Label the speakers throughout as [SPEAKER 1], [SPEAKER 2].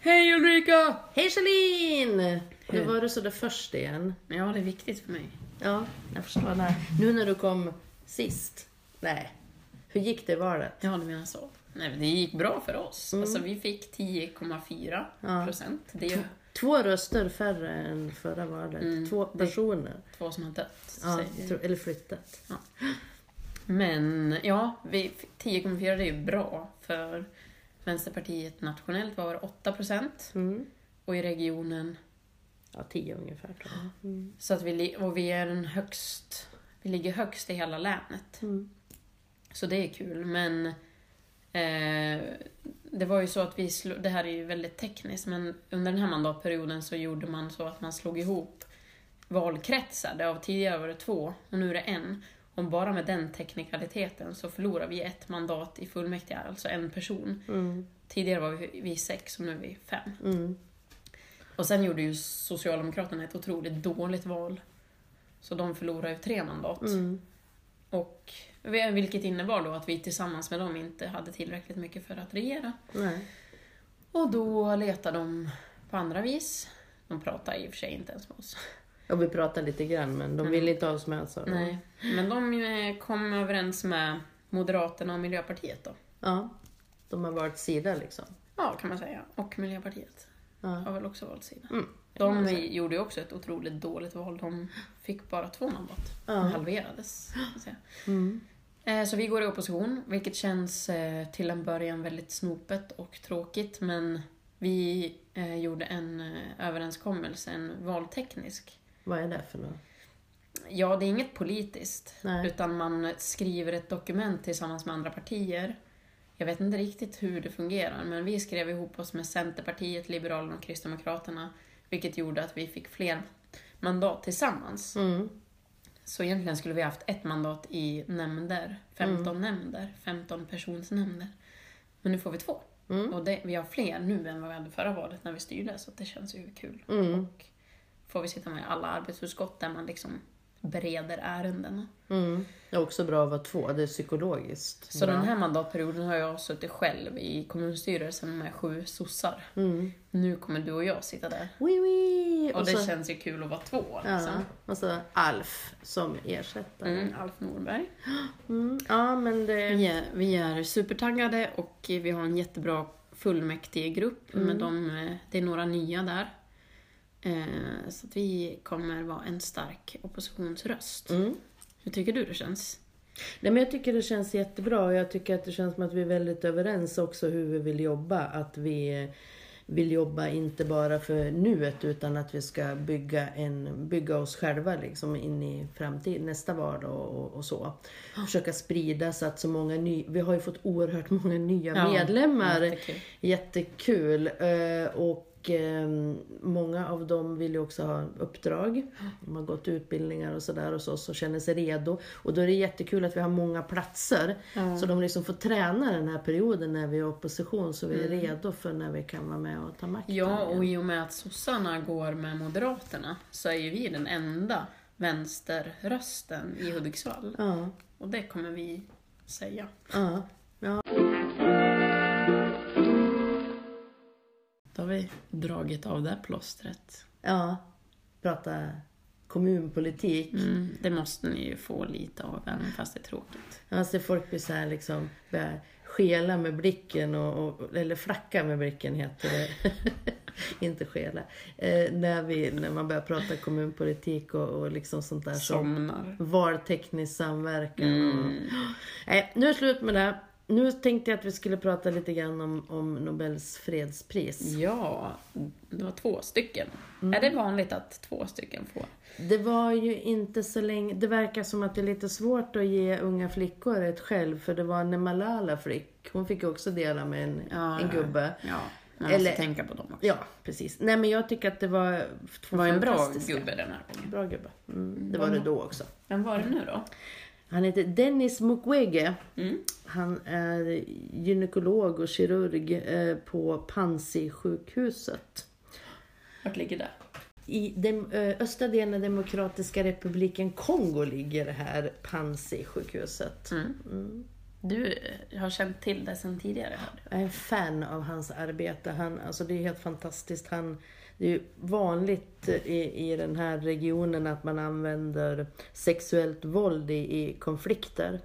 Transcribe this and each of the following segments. [SPEAKER 1] Hej Ulrika!
[SPEAKER 2] Hej Celine! Nu var du sådär först igen.
[SPEAKER 1] Ja, det är viktigt för mig.
[SPEAKER 2] Ja, jag förstår det. Nu när du kom sist. Nej. Hur gick det i valet?
[SPEAKER 1] Ja, du menar så. Nej, men det gick bra för oss. Alltså, vi fick 10,4 procent. Det är ju
[SPEAKER 2] Två röster färre än förra valet. Två personer.
[SPEAKER 1] två som har dött.
[SPEAKER 2] Ja,
[SPEAKER 1] säger
[SPEAKER 2] tro- eller flyttat.
[SPEAKER 1] Men ja, vi, 10,4 det är ju bra för Vänsterpartiet nationellt var det 8 procent
[SPEAKER 2] Mm.
[SPEAKER 1] och i regionen
[SPEAKER 2] Ja, tio ungefär. tror jag. Mm.
[SPEAKER 1] så att vi, li- och vi är den högst, vi ligger högst i hela länet.
[SPEAKER 2] Mm.
[SPEAKER 1] Så det är kul, men eh, det var ju så att vi slog, det här är ju väldigt tekniskt, men under den här mandatperioden så gjorde man så att man slog ihop valkretsar, där av tidigare var det två och nu är det en. Och bara med den teknikaliteten så förlorar vi ett mandat i fullmäktige, alltså en person.
[SPEAKER 2] Mm.
[SPEAKER 1] Tidigare var vi, vi sex och nu är vi fem.
[SPEAKER 2] Mm.
[SPEAKER 1] Och sen gjorde ju Socialdemokraterna ett otroligt dåligt val. Så de förlorade ju tre mandat.
[SPEAKER 2] Mm.
[SPEAKER 1] Och, vilket innebar då att vi tillsammans med dem inte hade tillräckligt mycket för att regera.
[SPEAKER 2] Nej.
[SPEAKER 1] Och då letade de på andra vis. De pratade i och för sig inte ens med oss.
[SPEAKER 2] Och vi pratade lite grann, men de ville inte ha oss med sa de.
[SPEAKER 1] Nej. Men de eh, kom överens med Moderaterna och Miljöpartiet då.
[SPEAKER 2] Ja. De har varit sida liksom.
[SPEAKER 1] Ja, kan man säga. Och Miljöpartiet
[SPEAKER 2] Ja.
[SPEAKER 1] har väl också valt sida.
[SPEAKER 2] Mm.
[SPEAKER 1] De gjorde ju också ett otroligt dåligt val. De fick bara två mandat.
[SPEAKER 2] Ja.
[SPEAKER 1] De halverades. kan man säga.
[SPEAKER 2] Mm.
[SPEAKER 1] Eh, Så vi går i opposition, vilket känns eh, till en början väldigt snopet och tråkigt, men vi eh, gjorde en eh, överenskommelse, en valteknisk.
[SPEAKER 2] Vad är det för något?
[SPEAKER 1] Ja, det är inget politiskt,
[SPEAKER 2] Nej.
[SPEAKER 1] utan man skriver ett dokument tillsammans med andra partier. Jag vet inte riktigt hur det fungerar, men vi skrev ihop oss med Centerpartiet, Liberalerna och Kristdemokraterna, vilket gjorde att vi fick fler mandat tillsammans.
[SPEAKER 2] Mm.
[SPEAKER 1] Så egentligen skulle vi haft ett mandat i nämnder,
[SPEAKER 2] Mm.
[SPEAKER 1] 15 nämnder, 15 personsnämnder. Men nu får vi två.
[SPEAKER 2] Mm.
[SPEAKER 1] Och det, vi har fler nu än vad vi hade förra valet när vi styrde, så det känns ju kul.
[SPEAKER 2] Mm.
[SPEAKER 1] Och får vi sitta med i alla arbetsutskott där man liksom bereder ärendena.
[SPEAKER 2] Mm. Det är också bra att vara två, det är psykologiskt.
[SPEAKER 1] Så
[SPEAKER 2] bra.
[SPEAKER 1] den här mandatperioden har jag suttit själv i kommunstyrelsen med sju sossar.
[SPEAKER 2] Mm.
[SPEAKER 1] Nu kommer du och jag sitta där.
[SPEAKER 2] Oui, oui.
[SPEAKER 1] Och, det känns ju kul att vara två.
[SPEAKER 2] ja,
[SPEAKER 1] Liksom.
[SPEAKER 2] och så Alf som ersättare. Mm.
[SPEAKER 1] Mm, Alf Norberg.
[SPEAKER 2] Ja, men det...
[SPEAKER 1] Vi är, vi är supertaggade och vi har en jättebra fullmäktigegrupp. Med dem, eh, det är några nya där. Eh, Så att vi kommer vara en stark oppositionsröst.
[SPEAKER 2] Mm.
[SPEAKER 1] Hur tycker du det känns?
[SPEAKER 2] Nej, men jag tycker det känns jättebra och jag tycker att det känns som att vi är väldigt överens också hur vi vill jobba. Att vi vill jobba inte bara för nuet utan att vi ska bygga, en, bygga oss själva liksom in i framtiden, nästa vardag och, och, och så. Försöka sprida så att så många ny, vi har ju fått oerhört många nya
[SPEAKER 1] Ja,
[SPEAKER 2] medlemmar.
[SPEAKER 1] jättekul.
[SPEAKER 2] Jättekul. Eh, Och ehm, många av dem vill ju också ha uppdrag. De har gått utbildningar och sådär hos oss och känner sig redo. Och då är det jättekul att vi har många platser. Så de liksom får träna den här perioden när vi är i opposition så vi är redo för när vi kan vara med och ta makten.
[SPEAKER 1] Ja, och i och med att sossarna går med Moderaterna så är ju vi den enda vänsterrösten i Hudiksvall.
[SPEAKER 2] Ja,
[SPEAKER 1] Och det kommer vi säga.
[SPEAKER 2] ja, ja.
[SPEAKER 1] Då har vi dragit av det här plåstret.
[SPEAKER 2] ja. Prata kommunpolitik.
[SPEAKER 1] Mm, det måste ni ju få lite av även fast det är tråkigt.
[SPEAKER 2] Alltså folk blir så här liksom, börjar skela med blicken, och, och, eller flacka med blicken heter det. Inte skela. Eh, när, vi, när man börjar prata kommunpolitik och, och liksom sånt där. Som
[SPEAKER 1] Somnar.
[SPEAKER 2] valteknisk samverkan.
[SPEAKER 1] Mm.
[SPEAKER 2] Och, nej, nu är det slut med det. Nu tänkte jag att vi skulle prata lite grann om, om Nobels
[SPEAKER 1] Mm.
[SPEAKER 2] fredspris.
[SPEAKER 1] Ja, det var två stycken. Är det vanligt att två stycken får?
[SPEAKER 2] Det var ju inte så länge, det verkar som att det är lite svårt att ge unga flickor ett själv för det var när Malala fick, hon fick ju också dela med en, en gubbe.
[SPEAKER 1] Ja, man
[SPEAKER 2] Eller-
[SPEAKER 1] måste tänka på dem också.
[SPEAKER 2] Ja, precis. Nej men jag tycker att det var två
[SPEAKER 1] Det var en bra
[SPEAKER 2] fantastiska-
[SPEAKER 1] gubbe den här gången.
[SPEAKER 2] Bra gubbe. Mm, det var det då också.
[SPEAKER 1] Vem var det nu då?
[SPEAKER 2] Han heter Dennis Mukwege.
[SPEAKER 1] Mm.
[SPEAKER 2] Han är gynekolog och kirurg eh, på Panzi-sjukhuset.
[SPEAKER 1] Vart ligger det?
[SPEAKER 2] I den eh, östra delen av Demokratiska republiken Kongo ligger det här Panzi-sjukhuset.
[SPEAKER 1] Du eh, har känt till det sen tidigare. hörde
[SPEAKER 2] Jag är en fan av hans arbete. Han, alltså det är helt fantastiskt. Han, det är ju vanligt i, i den här regionen att man använder sexuellt våld i, i konflikter.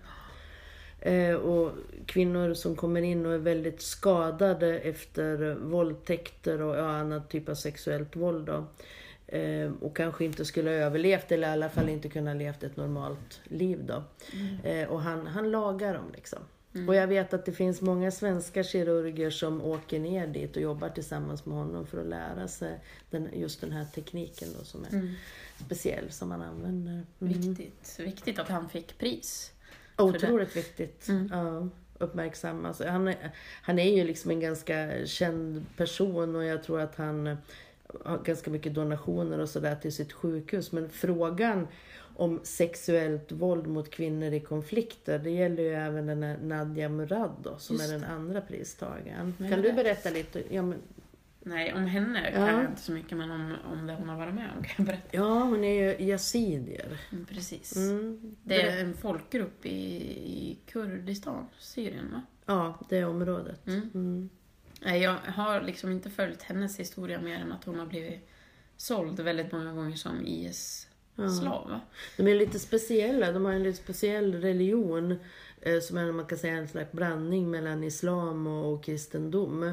[SPEAKER 2] Eh, och kvinnor som kommer in och är väldigt skadade efter våldtäkter och ja, annan typ av sexuellt våld. Då. Eh, och kanske inte skulle ha överlevt eller i alla fall inte kunnat levt ett normalt liv. Då. Eh, och han, han lagar dem liksom. Och jag vet att det finns många svenska kirurger som åker ner dit och jobbar tillsammans med honom för att lära sig den, just den här tekniken då som är speciell som man använder.
[SPEAKER 1] jag. Viktigt. Viktigt att han fick pris.
[SPEAKER 2] Otroligt viktigt. Ja, uppmärksammas. Han, är- han är ju liksom en ganska känd person och jag tror att han har ganska mycket donationer och sådär till sitt sjukhus. Men frågan om sexuellt våld mot kvinnor i konflikter, det gäller ju även den här Nadia Murad då, som
[SPEAKER 1] Just
[SPEAKER 2] är den andra pristagaren.
[SPEAKER 1] Men
[SPEAKER 2] Kan
[SPEAKER 1] det-
[SPEAKER 2] du berätta lite? Ja, men,
[SPEAKER 1] Nej, om henne kan
[SPEAKER 2] Ja.
[SPEAKER 1] jag inte så mycket, men om, om det hon har varit med om kan jag berätta.
[SPEAKER 2] ja hon är ju yazidier.
[SPEAKER 1] Mm, Precis.
[SPEAKER 2] Mm.
[SPEAKER 1] Det är en folkgrupp i, i Kurdistan, Syrien va?
[SPEAKER 2] Ja, det området.
[SPEAKER 1] Mm.
[SPEAKER 2] Mm.
[SPEAKER 1] Nej, jag har liksom inte följt hennes historia mer än att hon har blivit såld väldigt många gånger som IS-slav. va?
[SPEAKER 2] De är lite speciella, de har en lite speciell religion eh, som är man kan säga en slags blandning mellan islam och, och kristendom.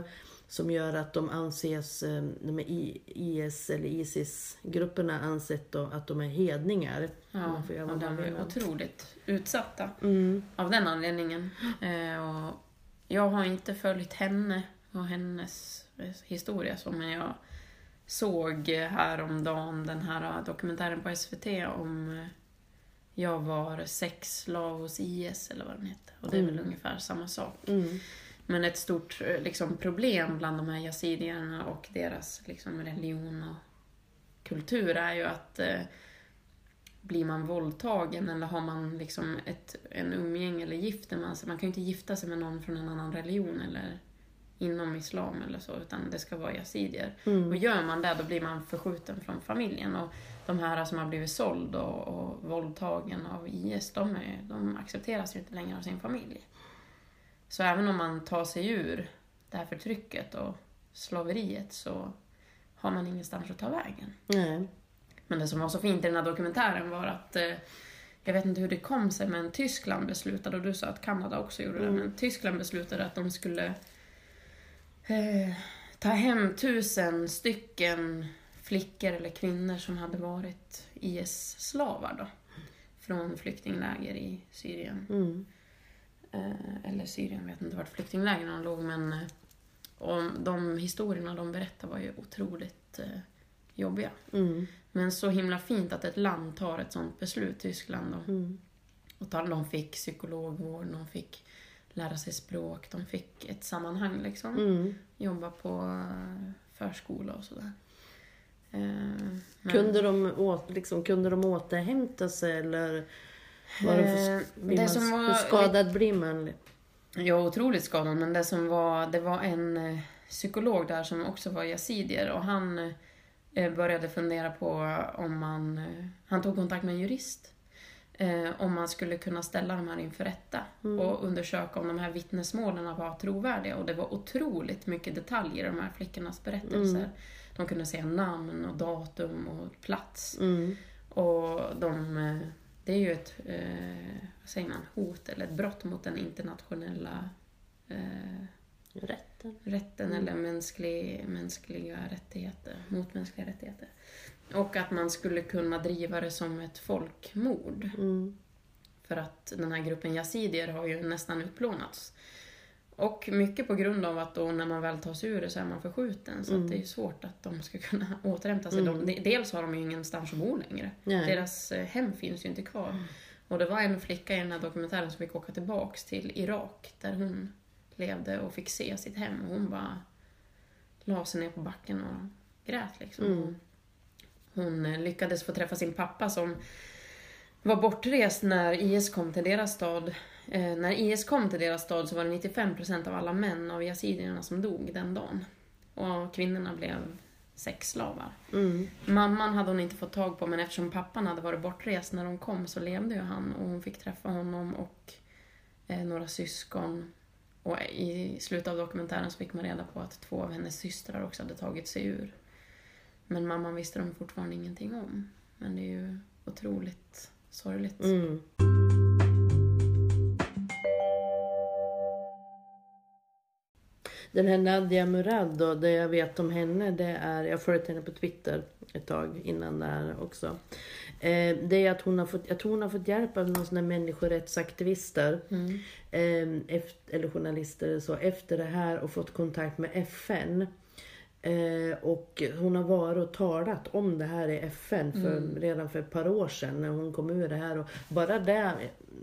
[SPEAKER 2] Som gör att de anses, eh, de är I- IS eller Isis-grupperna anses då att de är hedningar.
[SPEAKER 1] Ja,
[SPEAKER 2] Man får göra
[SPEAKER 1] och
[SPEAKER 2] vad man
[SPEAKER 1] de
[SPEAKER 2] vill.
[SPEAKER 1] är otroligt utsatta
[SPEAKER 2] Mm.
[SPEAKER 1] av den anledningen. Eh, och jag har inte följt henne och hennes eh, historia så, men jag såg häromdagen den här eh, dokumentären på SVT om eh, jag var sexslav hos IS eller vad den heter. Och det är väl ungefär samma sak.
[SPEAKER 2] Mm.
[SPEAKER 1] Men ett stort eh, liksom, problem bland de här yazidierna och deras liksom, religion och kultur är ju att eh, blir man våldtagen eller har man liksom ett, en umgänge eller gifter man sig, man kan ju inte gifta sig med någon från en annan religion eller inom islam eller så, utan det ska vara yazidier. Och
[SPEAKER 2] Mm.
[SPEAKER 1] gör man det, då blir man förskjuten från familjen. Och de här som har blivit såld och, och våldtagen av IS, de, är, de accepteras ju inte längre av sin familj. Så även om man tar sig ur det här förtrycket och slaveriet så har man ingenstans att ta vägen.
[SPEAKER 2] Nej.
[SPEAKER 1] Men det som var så fint i den här dokumentären var att eh, jag vet inte hur det kom sig, men Tyskland beslutade, och du sa att Kanada också gjorde det, men Tyskland beslutade att de skulle eh, ta hem tusen stycken flickor eller kvinnor som hade varit IS-slavar då, från flyktingläger i Syrien.
[SPEAKER 2] Mm.
[SPEAKER 1] Eh, eller Syrien, jag vet inte vart flyktinglägren låg, men eh, om de historierna de berättar var ju otroligt eh, jobbiga.
[SPEAKER 2] Mm.
[SPEAKER 1] Men så himla fint att ett land tar ett sånt beslut, Tyskland. Då.
[SPEAKER 2] Mm.
[SPEAKER 1] Och tar, de fick psykologvård, de fick lära sig språk, de fick ett sammanhang liksom.
[SPEAKER 2] Mm.
[SPEAKER 1] Jobba på eh, förskola och sådär. Eh, men-
[SPEAKER 2] Kunde, de åt, liksom, kunde de återhämta sig eller var de för,
[SPEAKER 1] Eh,
[SPEAKER 2] blir
[SPEAKER 1] det
[SPEAKER 2] man,
[SPEAKER 1] som var-
[SPEAKER 2] hur skadad blir man?
[SPEAKER 1] Jag var otroligt skadad, men det som var, det var en eh, psykolog där som också var yazidier och han eh, började fundera på om man, eh, han tog kontakt med en jurist, eh, om man skulle kunna ställa de här inför rätta och undersöka om de här vittnesmålen var trovärdiga och det var otroligt mycket detaljer i de här flickornas berättelser. De kunde säga namn och datum och plats.
[SPEAKER 2] Mm.
[SPEAKER 1] Och de, eh, det är ju ett eh, vad säger man, hot eller ett brott mot den internationella eh,
[SPEAKER 2] Rätten.
[SPEAKER 1] rätten eller mänsklig, mänskliga rättigheter, mot mänskliga rättigheter. Och att man skulle kunna driva det som ett folkmord.
[SPEAKER 2] Mm.
[SPEAKER 1] För att den här gruppen yazidier har ju nästan utplånats. Och mycket på grund av att då när man väl tar sig ur det så är man förskjuten. Så att det är ju svårt att de ska kunna återhämta sig. De, de- dels har de ju ingenstans att bo längre.
[SPEAKER 2] Nej.
[SPEAKER 1] Deras eh, hem finns ju inte kvar. Och det var en flicka i den här dokumentären som fick åka tillbaks till Irak där hon levde och fick se sitt hem. Och hon bara la sig ner på backen och grät liksom. Hon eh, lyckades få träffa sin pappa som var bortrest när IS kom till deras stad. Eh, när IS kom till deras stad så var det 95% av alla män av yazidierna som dog den dagen. Och kvinnorna blev sexslavar.
[SPEAKER 2] Mm.
[SPEAKER 1] Mamman hade hon inte fått tag på men eftersom pappan hade varit bortrest när de kom så levde ju han och hon fick träffa honom och eh, några syskon. Och i slutet av dokumentären så fick man reda på att två av hennes systrar också hade tagit sig ur. Men mamman visste de fortfarande ingenting om. Men det är ju otroligt sorgligt.
[SPEAKER 2] Mm. Den här Nadia Murad då, det jag vet om henne det är, jag har följt henne på Twitter ett tag innan det här också. Eh, det är att hon har fått, jag tror hon har fått hjälp av någon sån här människorättsaktivister.
[SPEAKER 1] Mm.
[SPEAKER 2] eh, efter, eller journalister eller så, efter det här och fått kontakt med FN. Eh, och hon har varit och talat om det här i FN för,
[SPEAKER 1] Mm.
[SPEAKER 2] redan för ett par år sedan när hon kom ur det här. Och bara det,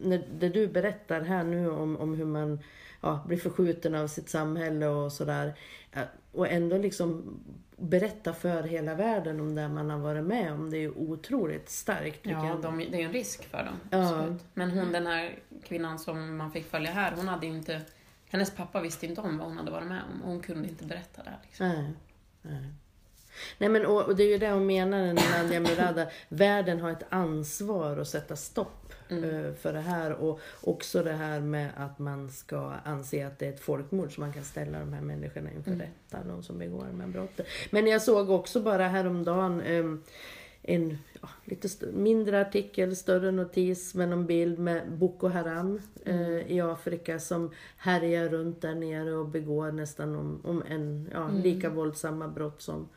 [SPEAKER 2] när, det du berättar här nu om, om hur man ja, blir förskjuten av sitt samhälle och sådär. eh, Och ändå liksom berätta för hela världen om det man har varit med om. Det är ju otroligt starkt. tycker
[SPEAKER 1] Ja,
[SPEAKER 2] jag.
[SPEAKER 1] de, det är ju en risk för dem.
[SPEAKER 2] Ja.
[SPEAKER 1] absolut. Men hon, den här kvinnan som man fick följa här, hon hade ju inte... Hennes pappa visste inte om vad hon hade varit med om och hon kunde inte berätta det här. Liksom.
[SPEAKER 2] Nej. Nej. Nej men och, och det är ju det hon menar när Nadia Murada. Världen har ett ansvar att sätta stopp eh, för det här och också det här med att man ska anse att det är ett folkmord så man kan ställa de här människorna inför rätta, de som begår de här brotten. Men jag såg också bara häromdagen um, en ja, lite st- mindre artikel, större notis med någon bild med Boko Haram
[SPEAKER 1] Mm.
[SPEAKER 2] eh, i Afrika som härjar runt där nere och begår nästan om, om en, ja,
[SPEAKER 1] Mm.
[SPEAKER 2] lika våldsamma brott som...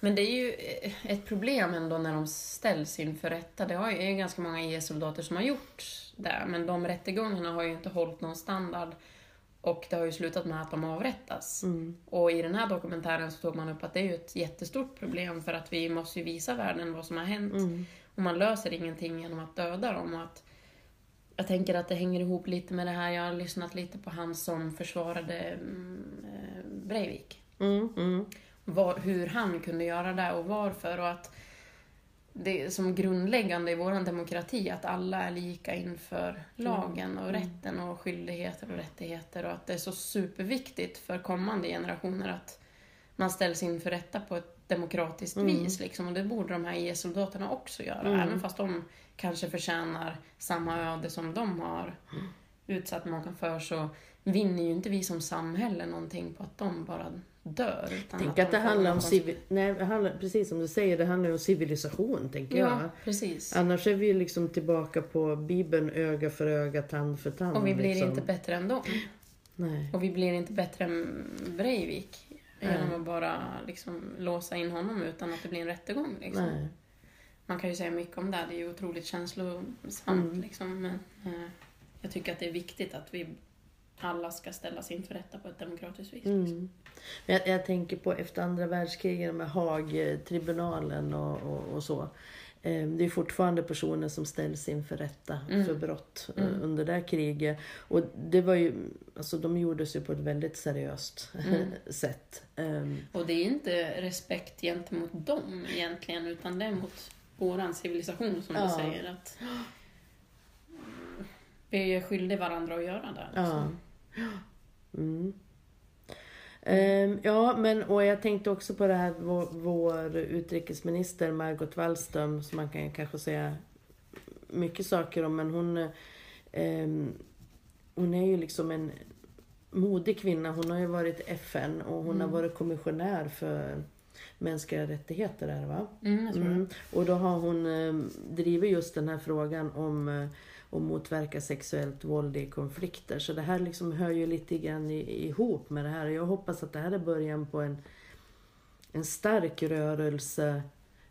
[SPEAKER 1] Men det är ju eh, ett problem ändå när de ställs inför rätta. Det har ju- är ju ganska många IS-soldater som har gjort det, men de rättegångarna har ju inte hållit någon standard. Och det har ju slutat med att de avrättas. Och i den här dokumentären så tog man upp att det är ju ett jättestort problem för att vi måste ju visa världen vad som har hänt. Och man löser ingenting genom att döda dem. Och att jag tänker att det hänger ihop lite med det här, jag har lyssnat lite på han som försvarade mm, eh, Breivik
[SPEAKER 2] Mm, mm,
[SPEAKER 1] var, hur han kunde göra det och varför. Och att det är som grundläggande i vår demokrati att alla är lika inför
[SPEAKER 2] Mm.
[SPEAKER 1] lagen och rätten och skyldigheter och rättigheter och att det är så superviktigt för kommande generationer att man ställs inför rätta på ett demokratiskt
[SPEAKER 2] Mm.
[SPEAKER 1] vis. Liksom. Och det borde de här IS-soldaterna också göra, även fast de kanske förtjänar samma öde som de har
[SPEAKER 2] Mm.
[SPEAKER 1] utsatt många för så vinner ju inte vi som samhälle någonting på att de bara dör. Utan
[SPEAKER 2] Tänk att
[SPEAKER 1] de
[SPEAKER 2] det
[SPEAKER 1] får
[SPEAKER 2] handlar om...
[SPEAKER 1] någon-
[SPEAKER 2] Civi- nej, det handlar, precis som du säger, det handlar ju om civilisation, tänker
[SPEAKER 1] Ja,
[SPEAKER 2] jag.
[SPEAKER 1] precis.
[SPEAKER 2] Annars är vi ju liksom tillbaka på Bibeln, öga för öga, tand för tand.
[SPEAKER 1] Och vi blir
[SPEAKER 2] liksom.
[SPEAKER 1] inte bättre än dem.
[SPEAKER 2] Nej.
[SPEAKER 1] Och vi blir inte bättre än Breivik genom att bara liksom låsa in honom utan att det blir en rättegång. Liksom.
[SPEAKER 2] Nej.
[SPEAKER 1] Man kan ju säga mycket om det, det är ju otroligt känslosamt.
[SPEAKER 2] Mm.
[SPEAKER 1] Liksom. Men eh, jag tycker att det är viktigt att vi alla ska ställas inför rätta på ett demokratiskt vis. liksom.
[SPEAKER 2] Mm. Men Jag, jag tänker på efter andra världskriget med Haagtribunalen och, och, och så. Eh, Det är fortfarande personer som ställs inför rätta för brott eh, under det här kriget. Och det var ju, alltså de gjordes ju på ett väldigt seriöst sätt. Eh,
[SPEAKER 1] Och det är inte respekt gentemot dem egentligen, utan det är mot våran civilisation som
[SPEAKER 2] Ja.
[SPEAKER 1] du säger. Att Mm, vi är skyldiga varandra att göra det.
[SPEAKER 2] Ja.
[SPEAKER 1] liksom.
[SPEAKER 2] Mm. Ehm, ja, men och jag tänkte också på det här vår, vår utrikesminister Margot Wallström som man kan kanske säga mycket saker om men hon eh, ehm, hon är ju liksom en modig kvinna. Hon har ju varit i FN och hon har varit kommissionär för mänskliga rättigheter där va?
[SPEAKER 1] Mm, jag tror det.
[SPEAKER 2] Mm. Och då har hon eh, drivit just den här frågan om eh, att motverka sexuellt våld i konflikter. Så det här liksom hör ju lite grann i, ihop med det här. Och jag hoppas att det här är början på en, en stark rörelse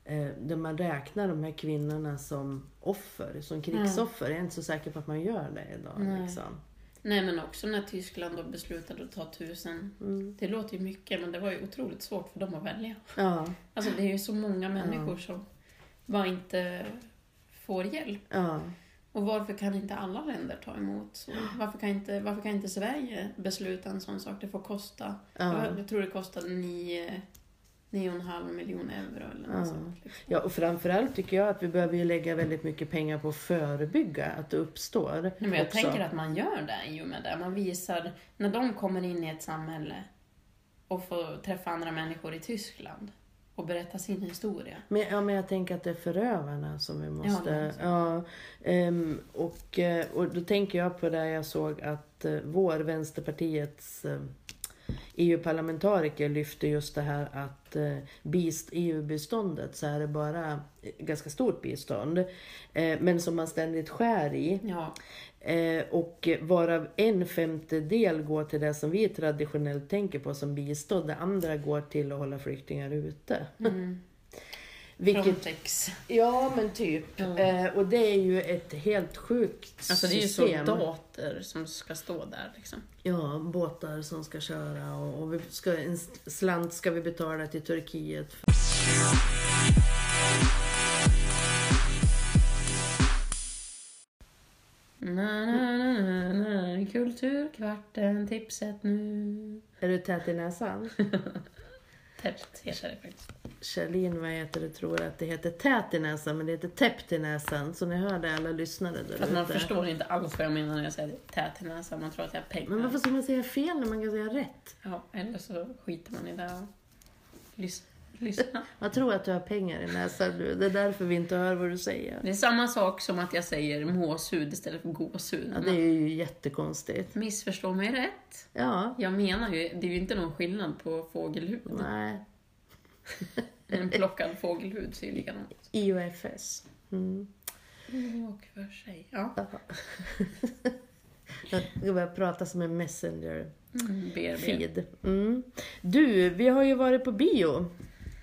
[SPEAKER 2] eh, där man räknar de här kvinnorna som offer, som krigsoffer. Jag är inte så säker på att man gör det idag.
[SPEAKER 1] Nej.
[SPEAKER 2] Liksom.
[SPEAKER 1] Nej men också när Tyskland då beslutade att ta tusen.
[SPEAKER 2] Mm.
[SPEAKER 1] Det låter ju mycket men det var ju otroligt svårt för dem att välja.
[SPEAKER 2] Ja,
[SPEAKER 1] Alltså det är ju så många människor som bara inte får hjälp.
[SPEAKER 2] ja.
[SPEAKER 1] Och varför kan inte alla länder ta emot? Så varför, kan inte, varför kan inte Sverige besluta en sån sak? Det får kosta.
[SPEAKER 2] Ja.
[SPEAKER 1] Jag, jag tror det kostade nio- nio och en halv miljon euro eller något
[SPEAKER 2] Ja.
[SPEAKER 1] sånt. Liksom.
[SPEAKER 2] ja, och framförallt tycker jag att vi behöver ju lägga väldigt mycket pengar på att förebygga att det uppstår.
[SPEAKER 1] Nej, men jag
[SPEAKER 2] också.
[SPEAKER 1] tänker att man gör det i och med det. Man visar, när de kommer in i ett samhälle och får träffa andra människor i Tyskland, och berätta sin historia.
[SPEAKER 2] Men, ja, men jag tänker att det är förövarna som vi måste...
[SPEAKER 1] men-
[SPEAKER 2] Ja, ehm, och, eh, och då tänker jag på det jag såg att eh, vår, Vänsterpartiets eh, EU-parlamentariker lyfte just det här att eh, bist, EU-biståndet så är det bara eh, ganska stort bistånd, eh, men som man ständigt skär i.
[SPEAKER 1] Ja,
[SPEAKER 2] Eh, och varav en femtedel går till det som vi traditionellt tänker på som bistånd. Det andra går till att hålla flyktingar ute. Vilket,
[SPEAKER 1] Frontex.
[SPEAKER 2] Mm. ja men typ. Eh, och det är ju ett helt sjukt
[SPEAKER 1] Alltså det är ju
[SPEAKER 2] system.
[SPEAKER 1] soldater som ska stå där liksom.
[SPEAKER 2] Ja, båtar som ska köra och, och vi ska, en slant ska vi betala till Turkiet.
[SPEAKER 1] Na, na, na, na, na. Kulturkvarten, tipset nu.
[SPEAKER 2] Är du tät i näsan?
[SPEAKER 1] Täppt heter det faktiskt.
[SPEAKER 2] Kjellin, vad heter det, tror att det heter tät i näsan men det heter täppt i näsan. Så ni hör det alla lyssnare där
[SPEAKER 1] Fast man
[SPEAKER 2] ute.
[SPEAKER 1] förstår inte alls vad jag menar när jag säger tät i näsan. Man tror att jag har pengar.
[SPEAKER 2] Men varför ska man säga fel när man kan säga rätt?
[SPEAKER 1] Ja, eller så skiter man i det och lys- lyssnar.
[SPEAKER 2] Jag tror att du har pengar i näsan nu. Det är därför vi inte hör vad du säger.
[SPEAKER 1] Det är samma sak som att jag säger måshud istället för gåshud.
[SPEAKER 2] Ja, det är ju jättekonstigt.
[SPEAKER 1] Missförstå mig rätt.
[SPEAKER 2] Ja.
[SPEAKER 1] Jag menar ju, det är ju inte någon skillnad på fågelhud.
[SPEAKER 2] Nej.
[SPEAKER 1] En plockad fågelhud ser ju likadan ut.
[SPEAKER 2] IOFS. Mm.
[SPEAKER 1] Och för sig. Ja.
[SPEAKER 2] Ja. Jag ska börja prata som en messenger-feed.
[SPEAKER 1] Mm, BRB.
[SPEAKER 2] Mm. Du, vi har ju varit på bio.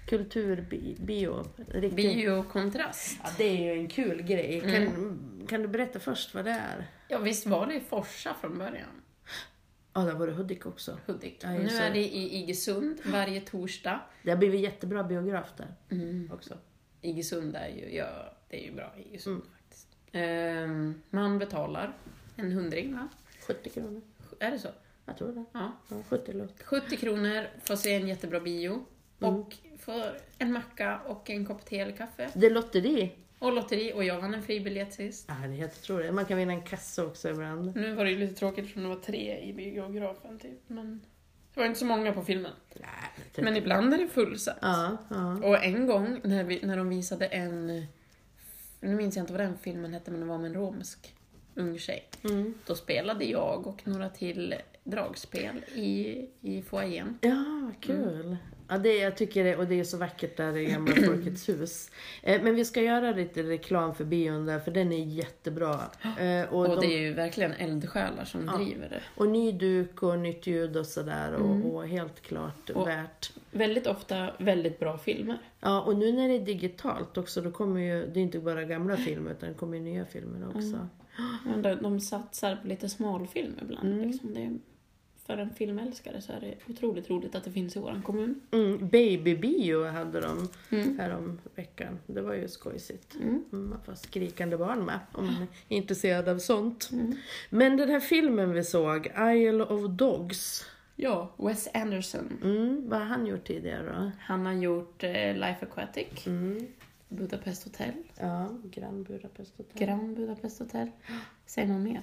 [SPEAKER 2] Kulturbio. Riktigt.
[SPEAKER 1] Biokontrast.
[SPEAKER 2] Ja, det är ju en kul grej. Kan, kan du berätta först vad det är?
[SPEAKER 1] Ja, visst var det i Forsa från början?
[SPEAKER 2] Ja, det var det Hudik också.
[SPEAKER 1] Hudik.
[SPEAKER 2] Ja,
[SPEAKER 1] nu
[SPEAKER 2] just
[SPEAKER 1] är
[SPEAKER 2] det.
[SPEAKER 1] det i Iggesund varje torsdag.
[SPEAKER 2] Det har blivit jättebra biograf där också.
[SPEAKER 1] Iggesund är ju, ja, det är ju bra i Iggesund
[SPEAKER 2] Mm.
[SPEAKER 1] faktiskt. Ehm, man betalar en hundring va?
[SPEAKER 2] 70 kronor.
[SPEAKER 1] Är det så?
[SPEAKER 2] Jag tror det.
[SPEAKER 1] Ja.
[SPEAKER 2] Ja, 70 låt.
[SPEAKER 1] 70 kronor, får se en jättebra bio. Och får en macka och en kopp te eller kaffe.
[SPEAKER 2] Det är lotteri.
[SPEAKER 1] Och lotteri, och jag vann en fribiljett sist.
[SPEAKER 2] Ja, det är helt otroligt. Man kan vinna en kasse också ibland.
[SPEAKER 1] Nu var det ju lite tråkigt eftersom det var tre i biografen typ, men det var inte så många på filmen.
[SPEAKER 2] Nej, det är
[SPEAKER 1] Men
[SPEAKER 2] typ-
[SPEAKER 1] ibland är det fullsatt.
[SPEAKER 2] Ja, ja.
[SPEAKER 1] Och en gång när, vi, när de visade en, nu minns jag inte vad den filmen hette, men det var om en romsk ung tjej.
[SPEAKER 2] Mm.
[SPEAKER 1] Då spelade jag och några till dragspel i, i foajén.
[SPEAKER 2] Ja, vad kul. Ja, det, jag tycker det, och det är så vackert där i gamla Folkets hus. Eh, men vi ska göra lite reklam för bion där, för den är jättebra. Eh, och,
[SPEAKER 1] Och
[SPEAKER 2] de,
[SPEAKER 1] det är ju verkligen eldsjälar som driver det.
[SPEAKER 2] och ny duk och nytt ljud och sådär. Och, Mm. och helt klart
[SPEAKER 1] Och-
[SPEAKER 2] värt.
[SPEAKER 1] Väldigt ofta väldigt bra filmer.
[SPEAKER 2] Ja, och nu när det är digitalt också, då kommer ju, det är inte bara gamla filmer, utan det kommer ju nya filmer också.
[SPEAKER 1] Men de- De satsar på lite smalfilm ibland. Liksom det är, för en filmälskare så är det otroligt roligt att det finns i vår kommun.
[SPEAKER 2] Mm, babybio hade de
[SPEAKER 1] Mm.
[SPEAKER 2] härom veckan. Det var ju skojsigt.
[SPEAKER 1] Mm.
[SPEAKER 2] Mm, Man får skrikande barn med om man är intresserad av sånt.
[SPEAKER 1] Mm.
[SPEAKER 2] Men den här filmen vi såg, Isle of Dogs.
[SPEAKER 1] Ja, Wes Anderson.
[SPEAKER 2] Mm, vad har han gjort tidigare då?
[SPEAKER 1] Han har gjort eh, Life Aquatic,
[SPEAKER 2] Mm,
[SPEAKER 1] Budapest Hotel,
[SPEAKER 2] ja, Grand Budapest Hotel.
[SPEAKER 1] Grand Budapest Hotel. Säg någon mer.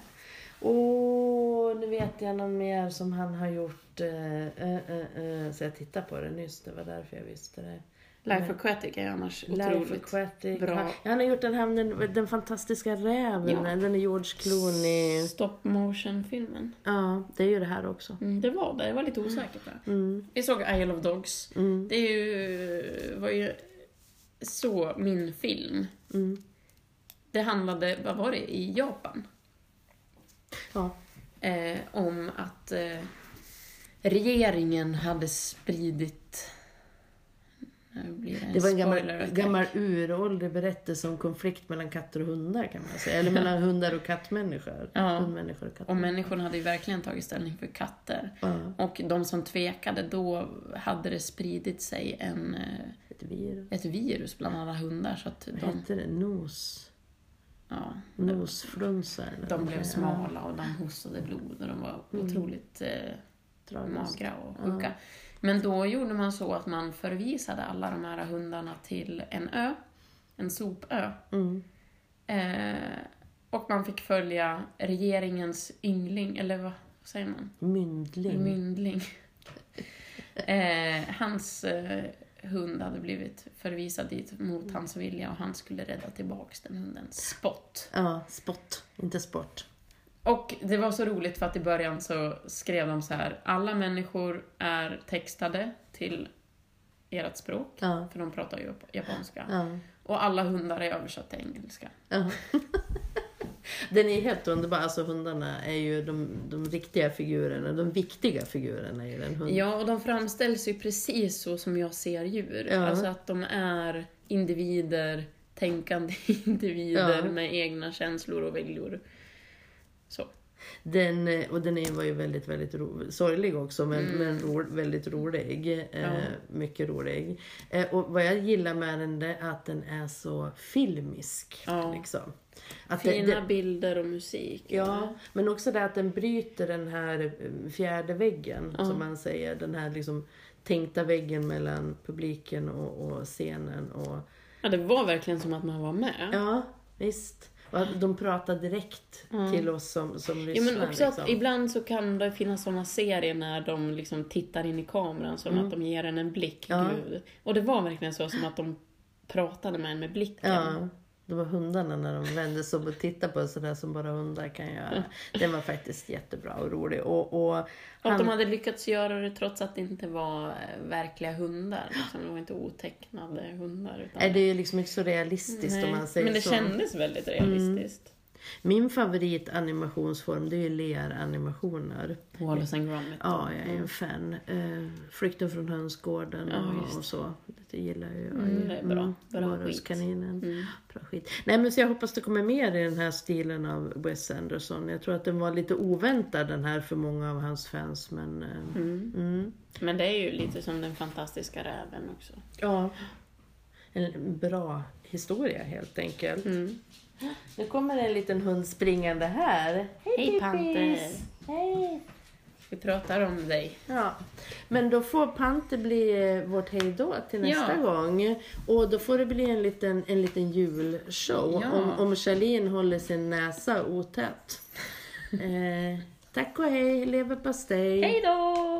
[SPEAKER 2] Åh, nu vet jag någon mer som han har gjort. Eh, eh, eh, eh, så jag tittade på det nyss, det var därför jag visste det.
[SPEAKER 1] Life Aquatic är annars otroligt.
[SPEAKER 2] Life Aquatic.
[SPEAKER 1] bra.
[SPEAKER 2] Han, han har gjort den här den, den fantastiska räven,
[SPEAKER 1] Ja.
[SPEAKER 2] den är George Clooney.
[SPEAKER 1] Stop motion-filmen.
[SPEAKER 2] Ja, det är ju det här också.
[SPEAKER 1] Mm, det var det, jag var lite osäker på det.
[SPEAKER 2] Mm,
[SPEAKER 1] Vi såg Isle of Dogs.
[SPEAKER 2] mm,
[SPEAKER 1] Det är ju, var ju så min film.
[SPEAKER 2] mm.
[SPEAKER 1] Det handlade, vad var det, i Japan?
[SPEAKER 2] Ja.
[SPEAKER 1] Eh, om att eh, regeringen hade spridit... Nu blir det en
[SPEAKER 2] Det var en
[SPEAKER 1] spoiler
[SPEAKER 2] gammal,
[SPEAKER 1] attack.
[SPEAKER 2] gammal uråldrig berättelse om konflikt mellan katter och hundar kan man säga. Eller mellan hundar och kattmänniskor.
[SPEAKER 1] Ja.
[SPEAKER 2] Hundmänniskor och
[SPEAKER 1] Och
[SPEAKER 2] kattmänniskor.
[SPEAKER 1] människorna hade ju verkligen tagit ställning för katter.
[SPEAKER 2] Ja,
[SPEAKER 1] Och de som tvekade, då hade det spridit sig en, eh,
[SPEAKER 2] ett virus.
[SPEAKER 1] ett virus bland alla hundar så att
[SPEAKER 2] Vad
[SPEAKER 1] de,
[SPEAKER 2] hette det? Nos?
[SPEAKER 1] ja,
[SPEAKER 2] Nosflunsa? eller
[SPEAKER 1] de
[SPEAKER 2] något.
[SPEAKER 1] blev
[SPEAKER 2] Ja,
[SPEAKER 1] smala och de hostade blod och de var otroligt eh,
[SPEAKER 2] tragiskt.
[SPEAKER 1] magra och sjuka. Men då gjorde man så att man förvisade alla de här hundarna till en ö, en sopö.
[SPEAKER 2] Mm.
[SPEAKER 1] Eh, och man fick följa regeringens yngling, eller vad säger man?
[SPEAKER 2] Myndling.
[SPEAKER 1] Myndling. eh, hans eh, hund hade blivit förvisad dit mot hans vilja och han skulle rädda tillbaks den hunden. Spott.
[SPEAKER 2] Ja, spott. Inte sport.
[SPEAKER 1] Och det var så roligt för att i början så skrev de så här, alla människor är textade till ert språk,
[SPEAKER 2] Ja.
[SPEAKER 1] för de pratar ju jap- japanska.
[SPEAKER 2] ja.
[SPEAKER 1] Och alla hundar är översatta till engelska.
[SPEAKER 2] Ja. Den är helt underbar. Alltså hundarna är ju de, de riktiga figurerna, de viktiga figurerna i den hunden.
[SPEAKER 1] Ja, och de framställs ju precis så som jag ser djur.
[SPEAKER 2] Ja.
[SPEAKER 1] Alltså att de är individer, tänkande individer
[SPEAKER 2] Ja.
[SPEAKER 1] med egna känslor och viljor. Så.
[SPEAKER 2] Den, eh, och den är, var ju väldigt, väldigt ro, sorglig också, men,
[SPEAKER 1] Mm.
[SPEAKER 2] men ro, väldigt rolig. Eh, Mycket rolig. Eh, och vad jag gillar med den det är att den är så filmisk.
[SPEAKER 1] Ja.
[SPEAKER 2] Liksom. Att det-
[SPEAKER 1] Fina
[SPEAKER 2] det-
[SPEAKER 1] bilder och musik.
[SPEAKER 2] Ja, men också det att den bryter den här eh, fjärde väggen, som man säger. Den här liksom tänkta väggen mellan publiken och, och scenen. Och,
[SPEAKER 1] ja, det var verkligen som att man var med.
[SPEAKER 2] ja, visst. Och att de pratar direkt till oss som, som
[SPEAKER 1] Mm. Ja,
[SPEAKER 2] lyssnar.
[SPEAKER 1] men också att
[SPEAKER 2] liksom.
[SPEAKER 1] ibland så kan det finnas såna serier när de liksom tittar in i kameran som att de ger en en blick.
[SPEAKER 2] Mm. Ja.
[SPEAKER 1] Gud. Och det var verkligen så som att de pratade med en med blicken.
[SPEAKER 2] Ja, det var hundarna när de vände sig om och tittade på sådär som bara hundar kan göra. Den var faktiskt jättebra och rolig. Och, och
[SPEAKER 1] Och att de
[SPEAKER 2] han,
[SPEAKER 1] hade lyckats göra det trots att det inte var eh, verkliga hundar. Liksom. De var inte otecknade hundar. Utan...
[SPEAKER 2] är det är ju liksom inte så realistiskt
[SPEAKER 1] Nej,
[SPEAKER 2] om man säger
[SPEAKER 1] Men det
[SPEAKER 2] så. Mm.
[SPEAKER 1] kändes väldigt realistiskt.
[SPEAKER 2] Min favoritanimationsform det är ju ler-animationer.
[SPEAKER 1] Wallace and Gromit.
[SPEAKER 2] Ja, jag är en fan. Eh, Flykten från hönsgården
[SPEAKER 1] Mm. Ja,
[SPEAKER 2] och,
[SPEAKER 1] just.
[SPEAKER 2] och så. Det gillar jag ju.
[SPEAKER 1] Mm, det är bra. Bra Mm.
[SPEAKER 2] Varulvskaninen. Bra skit. Nej men så jag hoppas det kommer mer i den här stilen av Wes Anderson. Jag tror att den var lite oväntad den här för många av hans fans men... eh, Mm.
[SPEAKER 1] Men det är ju lite som den fantastiska räven också.
[SPEAKER 2] Ja. En bra historia helt enkelt.
[SPEAKER 1] Mm.
[SPEAKER 2] Nu kommer en liten hund springande här.
[SPEAKER 1] Hej,
[SPEAKER 2] Pippis!
[SPEAKER 1] Panter.
[SPEAKER 2] Hej!
[SPEAKER 1] Vi pratar om dig.
[SPEAKER 2] Ja, men då får Panter bli eh, vårt hejdå till nästa
[SPEAKER 1] Ja.
[SPEAKER 2] gång. Och då får det bli en liten, en liten julshow
[SPEAKER 1] Ja.
[SPEAKER 2] om, om Charlene håller sin näsa otät. eh, tack och hej, leverpastej!
[SPEAKER 1] Hej då!